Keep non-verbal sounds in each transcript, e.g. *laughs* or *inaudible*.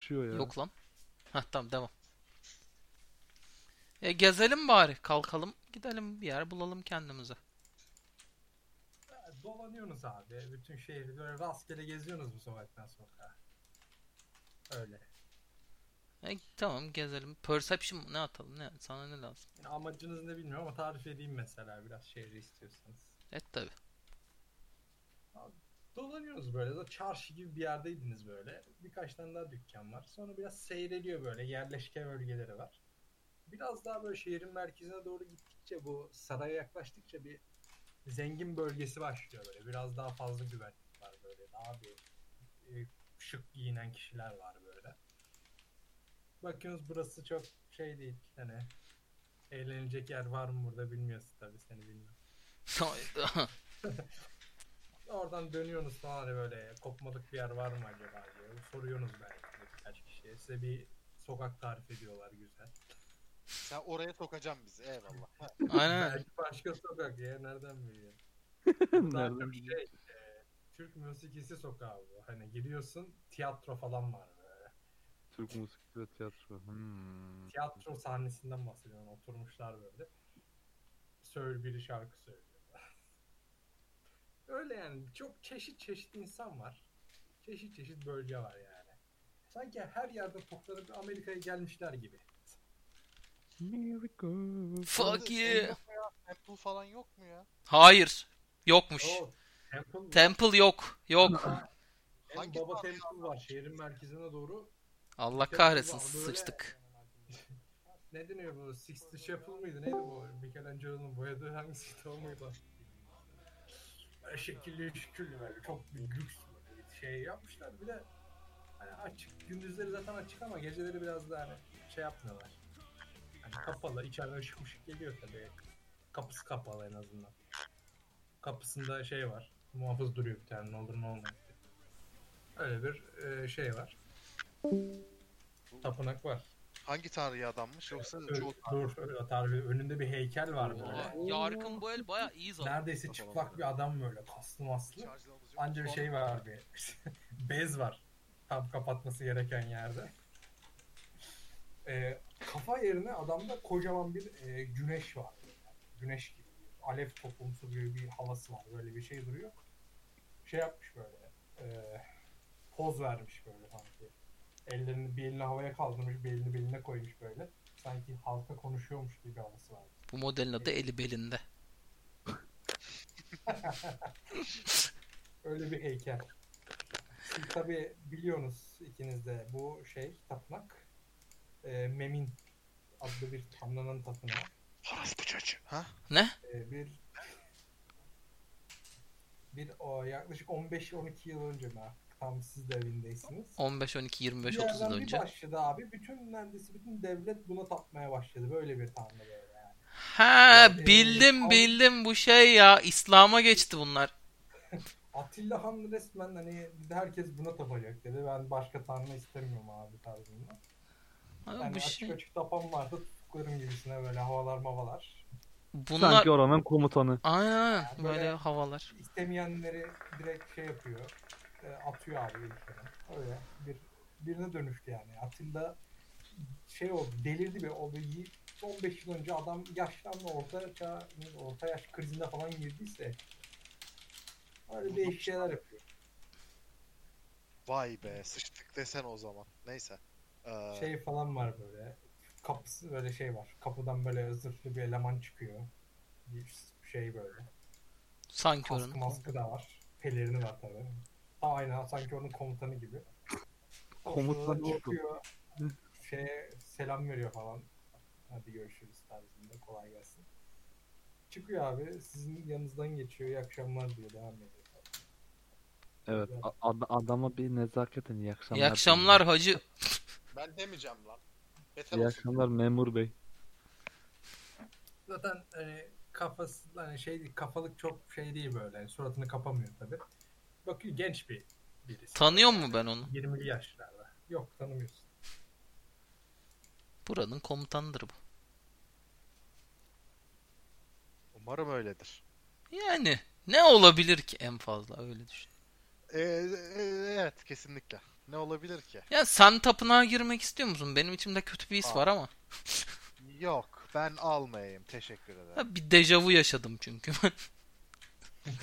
tutuyor ya. *laughs* Yok lan. Heh, tamam devam. E, gezelim bari. Kalkalım. Gidelim bir yer bulalım kendimize. Dolanıyorsunuz abi. Bütün şehri böyle rastgele geziyorsunuz bu sokaktan sokağa. Öyle. E, tamam gezelim. Perception mu? Ne atalım? Ne? Sana ne lazım? Yani amacınız ne bilmiyorum ama tarif edeyim mesela biraz şehri istiyorsanız. Et tabi. Dolanıyorsunuz böyle. Zaten çarşı gibi bir yerdeydiniz böyle. Birkaç tane daha dükkan var. Sonra biraz seyreliyor böyle. Yerleşke bölgeleri var. Biraz daha böyle şehrin merkezine doğru gittikçe bu saraya yaklaştıkça bir zengin bölgesi başlıyor böyle. Biraz daha fazla güvenlik var böyle. Daha bir e, şık giyinen kişiler var böyle. Bakıyorsunuz burası çok şey değil. Hani eğlenecek yer var mı burada bilmiyorsun tabii seni bilmiyorum. Oradan dönüyorsunuz sonra hani böyle kopmalık bir yer var mı acaba diye soruyorsunuz belki de birkaç kişiye. Size bir sokak tarif ediyorlar güzel. Sen oraya sokacaksın bizi eyvallah. Ha, *laughs* Aynen. Belki başka sokak ya nereden biliyorsun? Daha Nereden çok bileyim? şey, e, Türk müzikisi sokağı bu. Hani giriyorsun tiyatro falan var böyle. Türk müzikleri tiyatro. Hmm. Tiyatro sahnesinden bahsediyorum. Oturmuşlar böyle. Söyle biri şarkı söylüyor. *laughs* Öyle yani çok çeşit çeşit insan var. Çeşit çeşit bölge var yani. Sanki her yerde toplanıp Amerika'ya gelmişler gibi. Miracle. orada Fuck şey yeah. yok mu ya? Temple falan yok mu ya? Hayır. Yokmuş. Oo, Temple, Temple yok. *laughs* Yok. en Hangi baba tarih Temple var. Şehrin merkezine doğru. Allah Temple kahretsin var, böyle- sıçtık. *laughs* Ne deniyor bu? Sixth Chapel mıydı? Neydi bu? Michelangelo'nun boyadığı hangisiydi o muydu? Böyle şekilli şükürlü böyle çok bir lüks böyle bir şey yapmışlar. Bir de hani açık, gündüzleri zaten açık ama geceleri biraz daha hani şey yapmıyorlar. Hani kapalı, içeriden ışık ışık geliyor tabii. Kapısı kapalı en azından. Kapısında şey var, muhafız duruyor bir tane ne olur ne olmaz diye. Öyle bir e, şey var. Tapınak var. Hangi tanrıya adammış yoksa Dur, çoğu dur, öyle tarif ediyor. Önünde bir heykel var Oha, böyle. yargın bu el baya iyi zaten. Neredeyse çıplak bir adam böyle kaslı maslı. Anca bir şey var bir. *laughs* Bez var. Tam kapatması gereken yerde. Ee, kafa yerine adamda kocaman bir e, güneş var. Yani güneş gibi. bir Alev topumsu gibi bir havası var. Böyle bir şey duruyor. Şey yapmış böyle. e, poz vermiş böyle sanki. Ellerini bir elini havaya kaldırmış, bir elini beline koymuş böyle. Sanki halka konuşuyormuş gibi bir havası var. Bu modelin adı eli belinde. Öyle bir heykel. Siz tabi biliyorsunuz ikiniz de bu şey tapınak e, Memin adlı bir tanrının tapınağı. Orası bu çocuğu. Ha? E, bir bir o yaklaşık 15-12 yıl önce mi artık tam siz de evindeysiniz. 15, 12, 25, bir 30 yıl yerden bir önce. başladı abi. Bütün neredeyse bütün devlet buna tapmaya başladı. Böyle bir tanrı böyle yani. Ha Yani, bildim al- bildim bu şey ya. İslam'a geçti bunlar. Atilla Han resmen hani herkes buna tapacak dedi. Ben başka tanrı istemiyorum abi tarzında. Abi Yani bu açık şey. açık tapan vardı tutuklarım gibisine böyle havalar mavalar. Bunlar Sanki oranın komutanı. aynen Yani böyle böyle- havalar. İstemeyenleri direkt şey yapıyor. e, atıyor abi ülkeden. Öyle bir birine dönüştü yani. Atilla şey oldu delirdi be o bir 15 yıl önce adam yaşlandı orta çağ, orta yaş krizinde falan girdiyse öyle değişik şeyler yapıyor. Vay be sıçtık desen o zaman. Neyse. Ee, Şey falan var böyle. Kapısı böyle şey var. Kapıdan böyle zırhlı bir eleman çıkıyor. Bir şey böyle. Sanki Kaskı oranın. maskı da var. Pelerini var tabii. Tam Aynen sanki onun komutanı gibi. Komutan Sonra çıktı. bakıyor, Şeye selam veriyor falan. Hadi görüşürüz tarzında kolay gelsin. Çıkıyor abi sizin yanınızdan geçiyor. İyi akşamlar diyor devam ediyor. Evet. a- ad- adama bir nezaketen iyi akşamlar. İyi akşamlar hacı. Ben demeyeceğim lan. Beter İyi olsun. akşamlar memur bey. Zaten hani kafası hani şey değil, kafalık çok şey değil böyle. Yani suratını kapamıyor tabii. Bakıyor genç bir birisi. Tanıyor mu ben onu? 20'li yaşlarda. Yok tanımıyorsun. Buranın komutanıdır bu. Umarım öyledir. Yani ne olabilir ki en fazla öyle düşün. Ee, e- evet kesinlikle. Ne olabilir ki? Ya sen tapınağa girmek istiyor musun? Benim içimde kötü bir his Aa. var ama. Yok ben almayayım teşekkür ederim. Ya bir dejavu yaşadım çünkü.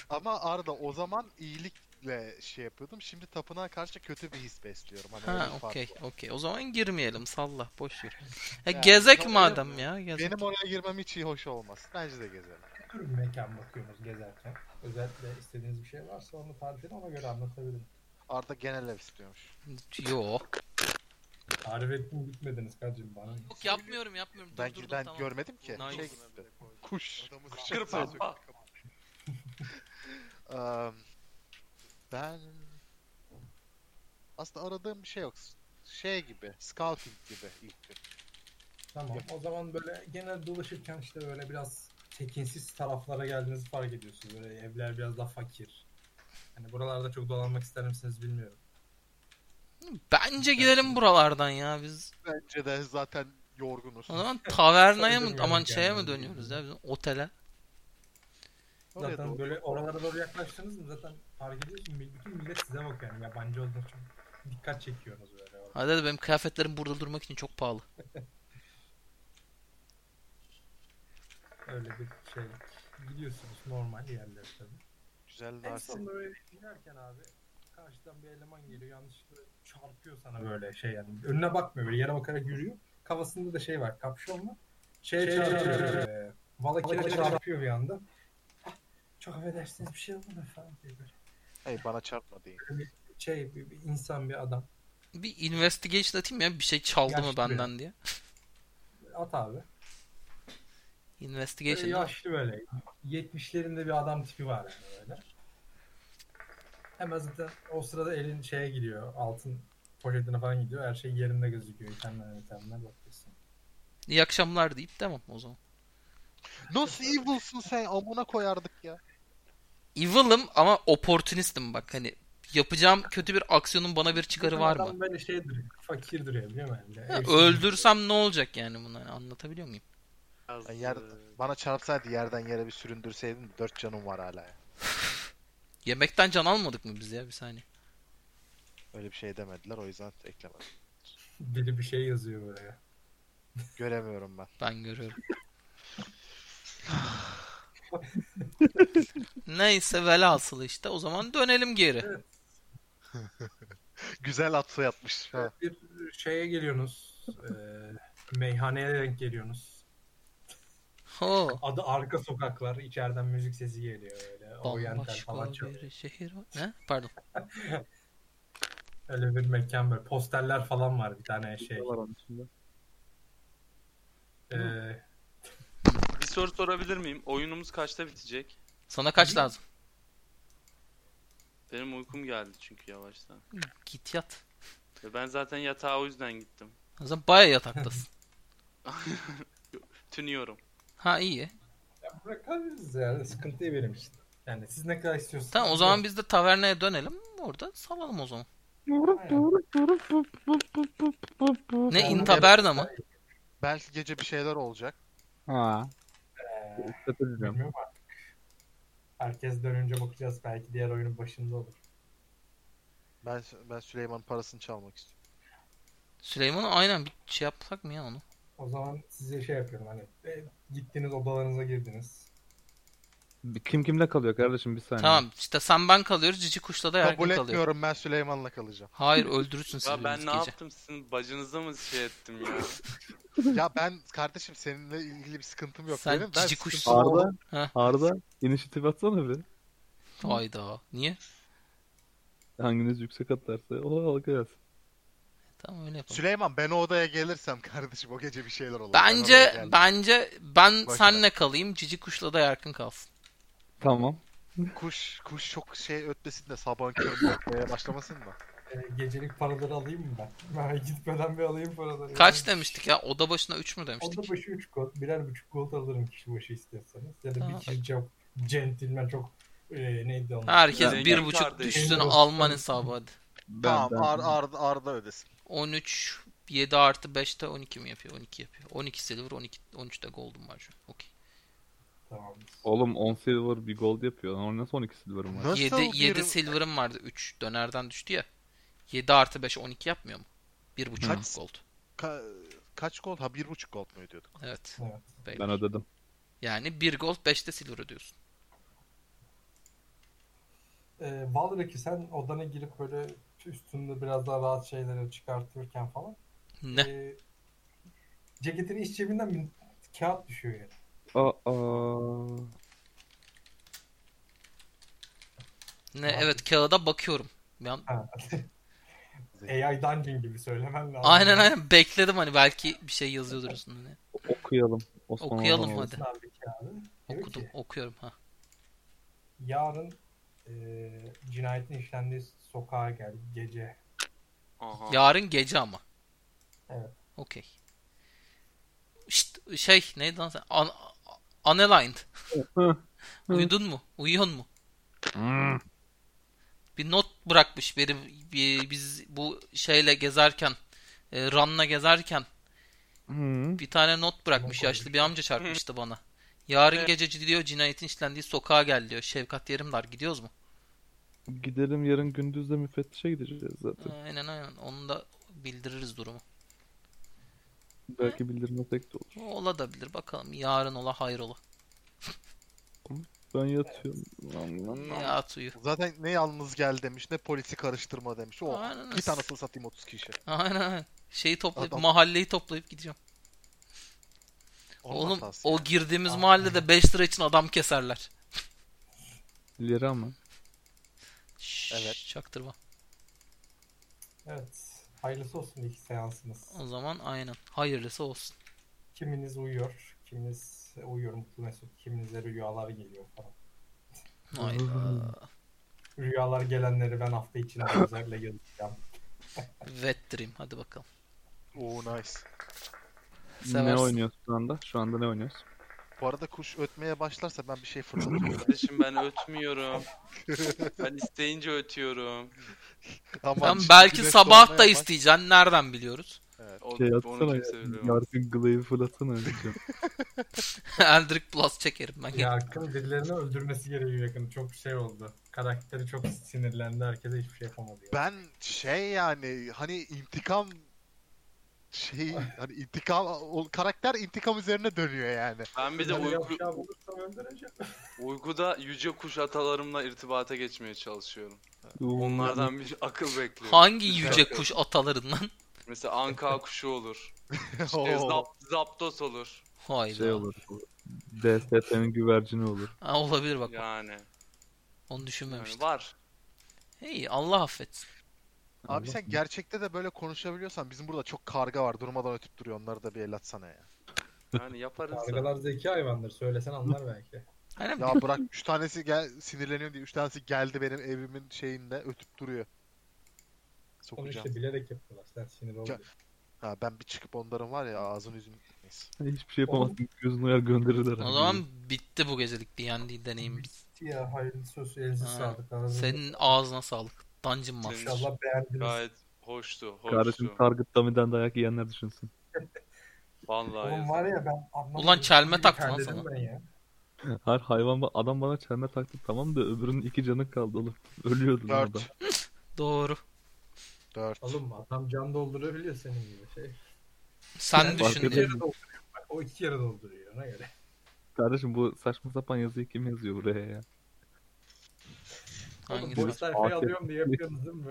Ama Arda o zaman iyilikle şey yapıyordum. Şimdi tapınağa karşı kötü bir his besliyorum. Hani öyle ha bir fark okey var. okey. O zaman girmeyelim salla boş ver. Ya Ya, gezek benim- madem ya. Gezek. Benim oraya girmem hiç iyi hoş olmaz. Bence de gezelim. Ne tür bir mekan bakıyorsunuz gezerken? Özellikle istediğiniz bir şey varsa onu tarif edin ona göre anlatabilirim. Arda genel ev istiyormuş. Yok. Tarif ettim bitmediniz kardeşim bana. Yok yapmıyorum yapmıyorum. ben ben görmedim ki. Nice. Şey gitti. Kuş. Kuş Kırpma. *laughs* Eee, ben aslında aradığım bir şey yok. Şey gibi, scouting gibi ilk gün. Tamam o zaman böyle genel dolaşırken işte böyle biraz tekinsiz taraflara geldiğinizi fark ediyorsunuz. Böyle evler biraz daha fakir. Hani buralarda çok dolanmak ister misiniz bilmiyorum. Bence gidelim buralardan ya biz. Bence de zaten yorgunuz. O *laughs* zaman tavernaya mı Saydım aman yani şeye mi kendimi. dönüyoruz ya biz otele? Oraya Zaten doğru. böyle oralara doğru yaklaştınız mı zaten fark ediyorsunuz. Bütün millet size bakıyor yani yabancı olduğunuz için dikkat çekiyorsunuz böyle. orada. Hadi hadi benim kıyafetlerim burada durmak için çok pahalı. Öyle bir şey. Gidiyorsunuz normal yerlere tabii. Güzel En narsis. sonunda böyle inerken abi karşıdan bir eleman geliyor yanlışlıkla çarpıyor sana böyle şey yani. Önüne bakmıyor böyle yere bakarak yürüyor. Kafasında da şey var kapşon var. Şey, çarpıyor. böyle. Valakir'e çarpıyor bir anda. Çok affedersiniz bir şey oldu mu falan diye böyle. Hey bana çarpma deyin. Şey bir, bir insan bir adam. Bir investigation atayım ya bir şey çaldı mı Yaşlı ya. benden diye. At abi. Böyle Investigation. değil mi? yaşlı böyle. 70'lerinde bir adam tipi var yani böyle. Hemen zaten o sırada elin şeye gidiyor. Altın poşetine falan gidiyor. Her şey yerinde gözüküyor. İtemler itemler bakıyorsun. İyi akşamlar deyip tamam o zaman. Nasıl evil'sın sen? Amına koyardık ya. Evil'ım ama opportunistim bak hani yapacağım kötü bir aksiyonun bana bir çıkarı var Adam mı? böyle şeydir. Fakir duruyor biliyor musun? Yani Ya evsiz öldürsem ne olacak yani bunu Hani anlatabiliyor muyum? Biraz, Yani yer, eee, bana çarpsaydı yerden yere bir süründürseydin dört canım var hala. ya. Yemekten can almadık mı biz ya bir saniye? Öyle bir şey demediler o yüzden eklemedim. Biri bir şey yazıyor buraya. Göremiyorum ben. Ben görüyorum. Neyse velhasıl işte o zaman dönelim geri. *laughs* Güzel atı yatmış. Ha. Bir şeye geliyorsunuz. eee, meyhaneye denk geliyorsunuz. Ho. Adı arka sokaklar. İçeriden müzik sesi geliyor böyle. Oriental falan Bambaşka çalıyor. bir şehir var. Ne? Pardon. Öyle bir mekan böyle. Posterler falan var bir tane şey. E, Var onun içinde. Eee bir soru sorabilir miyim? Oyunumuz kaçta bitecek? Sana kaç lazım? Benim uykum geldi çünkü yavaştan. Git yat. Ve ben zaten yatağa o yüzden gittim. O zaman baya yataktasın. Tünüyorum. Ha iyi. Bırakabiliriz yani sıkıntı değil benim için. Yani siz ne kadar istiyorsunuz? Tamam o zaman biz de tavernaya dönelim. Orada salalım o zaman. Ne Aynen. intaberna mı? Belki gece bir şeyler olacak. Ha. Ee, Kötü bilmiyorum. bilmiyorum artık. Herkes dönünce bakacağız belki diğer oyunun başında olur. Ben ben Süleyman'ın parasını çalmak istiyorum. Süleyman'ı aynen bir şey yapsak mı ya onu? O zaman size şey yapıyorum hani e, gittiniz odalarınıza girdiniz. Kim kimde kalıyor kardeşim bir saniye. Tamam işte sen ben kalıyoruz cici kuşla da Kabul erkek kalıyor. etmiyorum ben Süleyman'la *laughs* kalacağım. Hayır öldürürsün siz Ya ben biriniz ne gece. yaptım sizin bacınıza mı şey ettim ya? ya ben kardeşim seninle ilgili bir sıkıntım yok Sen benim. Ben cici sıkıntım kuşsun. olan- Arda. Ha. Arda. inisiyatif atsana bir. Hayda. Niye? Hanginiz yüksek atlarsa o halka gelsin. Tamam öyle yapalım. Süleyman ben o odaya gelirsem kardeşim o gece bir şeyler olur. Ben oraya Bence geldim. bence ben Boş senle kalayım. Cici kuşla da Yarkın kalsın. Tamam. kuş kuş çok şey ötmesin de sabahın köründe ötmeye başlamasın da. E, gecelik paraları alayım mı ben? *laughs* Ben gitmeden bir alayım paraları. Kaç demiştik ya? Oda başına 3 mü Oda demiştik? başı 3 gold, birer buçuk gold alırım kişi başı istiyorsanız. Ya da Tamam. bir kişi çok centilmen çok e, neydi onun? Herkes Ben- bir buçuk Kardeşim. düşsün Alman hesabı hadi. Ben, tamam ben- Ar- Arda, Arda ödesin. 13 7 artı 5'te 12 mi yapıyor? 12 yapıyor. 12 silver 12 13 de gold'um var şu an. Okey. Tamam. Oğlum 10 silver bir gold yapıyor. Lan Onun nasıl 12 silver'ım var? Nasıl 7 bir- 7 silver'ım vardı. 3 dönerden düştü ya. 7 artı 5 12 yapmıyor mu? 1.5 Kaç? gold. Ka- kaç gold? Ha 1.5 gold mu ödüyorduk? Evet. Evet. beyler. Ben ödedim. Yani 1 gold 5 de silver ödüyorsun. Ee, Baldur'daki sen odana girip böyle üstünde biraz daha rahat şeyleri çıkartırken falan. Ne? ee, ceketinin iç cebinden bir kağıt düşüyor yani. Aa. Ne? Evet kağıda bakıyorum. Ben Ha. AI Dungeon gibi söylemen lazım. aynen aynen bekledim hani belki bir şey yazıyordur üstünde. Okuyalım. Osman Okuyalım Orhan hadi. Abi kağıdı. Diyor ki, Okudum, okuyorum ha. yarın eee cinayetin işlendiği sokağa gel gece. Aha. Yarın gece ama. Evet. Okey. Şşt, şey neydi lan sen? An- unaligned. Hı, hı. Uyudun mu? Uyuyon mu? Hmm. Bir not bırakmış benim bir- biz bu şeyle gezerken e, Ran'la gezerken Hmm. bir tane not bırakmış. Bunu Yaşlı bir amca çarpmıştı bana. Yarın gece diyor cinayetin işlendiği sokağa gel diyor. Şevkat Yerimdar gidiyoruz mu? Gidelim yarın gündüz de müfettişe gideceğiz zaten. Aynen aynen. Onu da bildiririz durumu. Belki bildirmesek de olur. Ola da bilir bakalım. Yarın ola hayır ola. Ben yatıyorum. Nam, nam, nam. Ya at uyu. Zaten ne yalnız gel demiş ne polisi karıştırma demiş. O Aynen. git anasını satayım 30 kişi. *laughs* Aynen aynen. Şeyi toplayıp Adam- mahalleyi toplayıp gideceğim. Onun Oğlum hatası o yani. girdiğimiz Aynen. *laughs* mahallede 5 lira için adam keserler. Lira mı? Şşş, Evet. Çaktırma. Evet. Hayırlısı olsun ilk seansınız. O zaman aynen. Hayırlısı olsun. Kiminiz uyuyor, kiminiz uyuyor mutlu mesut, kiminize rüyalar geliyor falan. Hayda. Rüyalar gelenleri ben hafta içinde özellikle yazacağım. Wet Dream. Hadi bakalım. Oo nice. Ne Seversin. oynuyoruz şu anda? Şu anda ne oynuyoruz? Bu arada kuş ötmeye başlarsa ben bir şey *laughs* fırlatırım. Kardeşim ben ötmüyorum. ben isteyince ötüyorum. tamam, Tamam, şimdi belki güneş sabah doğmaya da baş- isteyeceksin. Nereden biliyoruz? *laughs* O, Şey onu atsana ya. kimse bilmiyor. Yargın Glaive'ı fırlatsana *laughs* önce. Eldrick Plus çekerim ben. Ya Hakkı'nın birilerini öldürmesi gerekiyor yakın. Çok şey oldu. Karakteri çok sinirlendi. Herkese hiçbir şey yapamadı. ya. Ben şey yani hani intikam şey hani intikam o karakter intikam üzerine *laughs* dönüyor yani. Ben bir de Böyle uyku, yapacağı bulursam öldüreceğim. uykuda yüce kuş atalarımla irtibata geçmeye çalışıyorum. Onlardan bir akıl bekliyorum. Hangi yüce kuş atalarından? Mesela anka kuşu olur. Şey, İşte Oo. zap, zaptos olur. Hayda. şey olur. DST'nin güvercini olur. Ha, olabilir bak. Yani. Onu yani düşünmemiştim. var. Hey Allah affetsin. Abi sen gerçekte de böyle konuşabiliyorsan bizim burada çok karga var durmadan ötüp duruyor onları da bir el atsana ya. Yani yaparız. da. Kargalar zeki hayvandır. Söylesen anlar belki. Aynen. Ya bırak 3 tanesi gel sinirleniyorum diye 3 tanesi geldi benim evimin şeyinde ötüp duruyor. Onu Sokacağım. işte bilerek yapıyorlar. Sen sinir oldun. Ha, ben bir çıkıp onların var ya ağzını yüzünü neyse. Hiçbir şey yapamazsın. Gözünü uyar gönderirler. O zaman bitti bu gecelik D&D deneyimimiz. Ya hayırlı söz elinize Ha. sağlık. Ağzınıza- Senin ağzına sağlık. Dungeon Master. İnşallah beğendiniz. Gayet hoştu. Hoştu. Kardeşim Target Dummy'den dayak yiyenler düşünsün. Vallahi. Oğlum var ya ben anlamadım. Ulan çelme Bir taktı lan terledim sana. ben ya. Her hayvan ba- adam bana çelme taktı tamam da öbürünün iki canı kaldı oğlum. *laughs* Ölüyordu lan adam. 4 Doğru. 4 Oğlum adam can doldurabiliyor senin gibi şey. Sen Ben fark düşün. iki diye. ederim. yarı dolduruyor. Bak, o iki yarı dolduruyor ona göre. Kardeşim bu saçma sapan yazıyı kim yazıyor buraya ya? Hangisi? Boy Boy sayfayı sayfa- alıyorum diye yapıyorsunuz değil mi?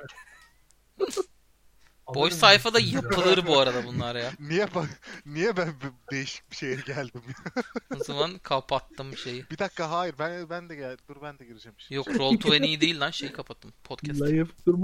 Boy Alırım sayfada diyorsun. yapılır bu arada bunlar ya. Niye bak *laughs* niye ben bu değişik bir şeye geldim? O zaman kapattım şeyi. bir dakika hayır ben ben de gel dur ben de gireceğim. şey. şimdi. Yok Roll20 değil lan şeyi kapattım. Podcast. Layıp durma.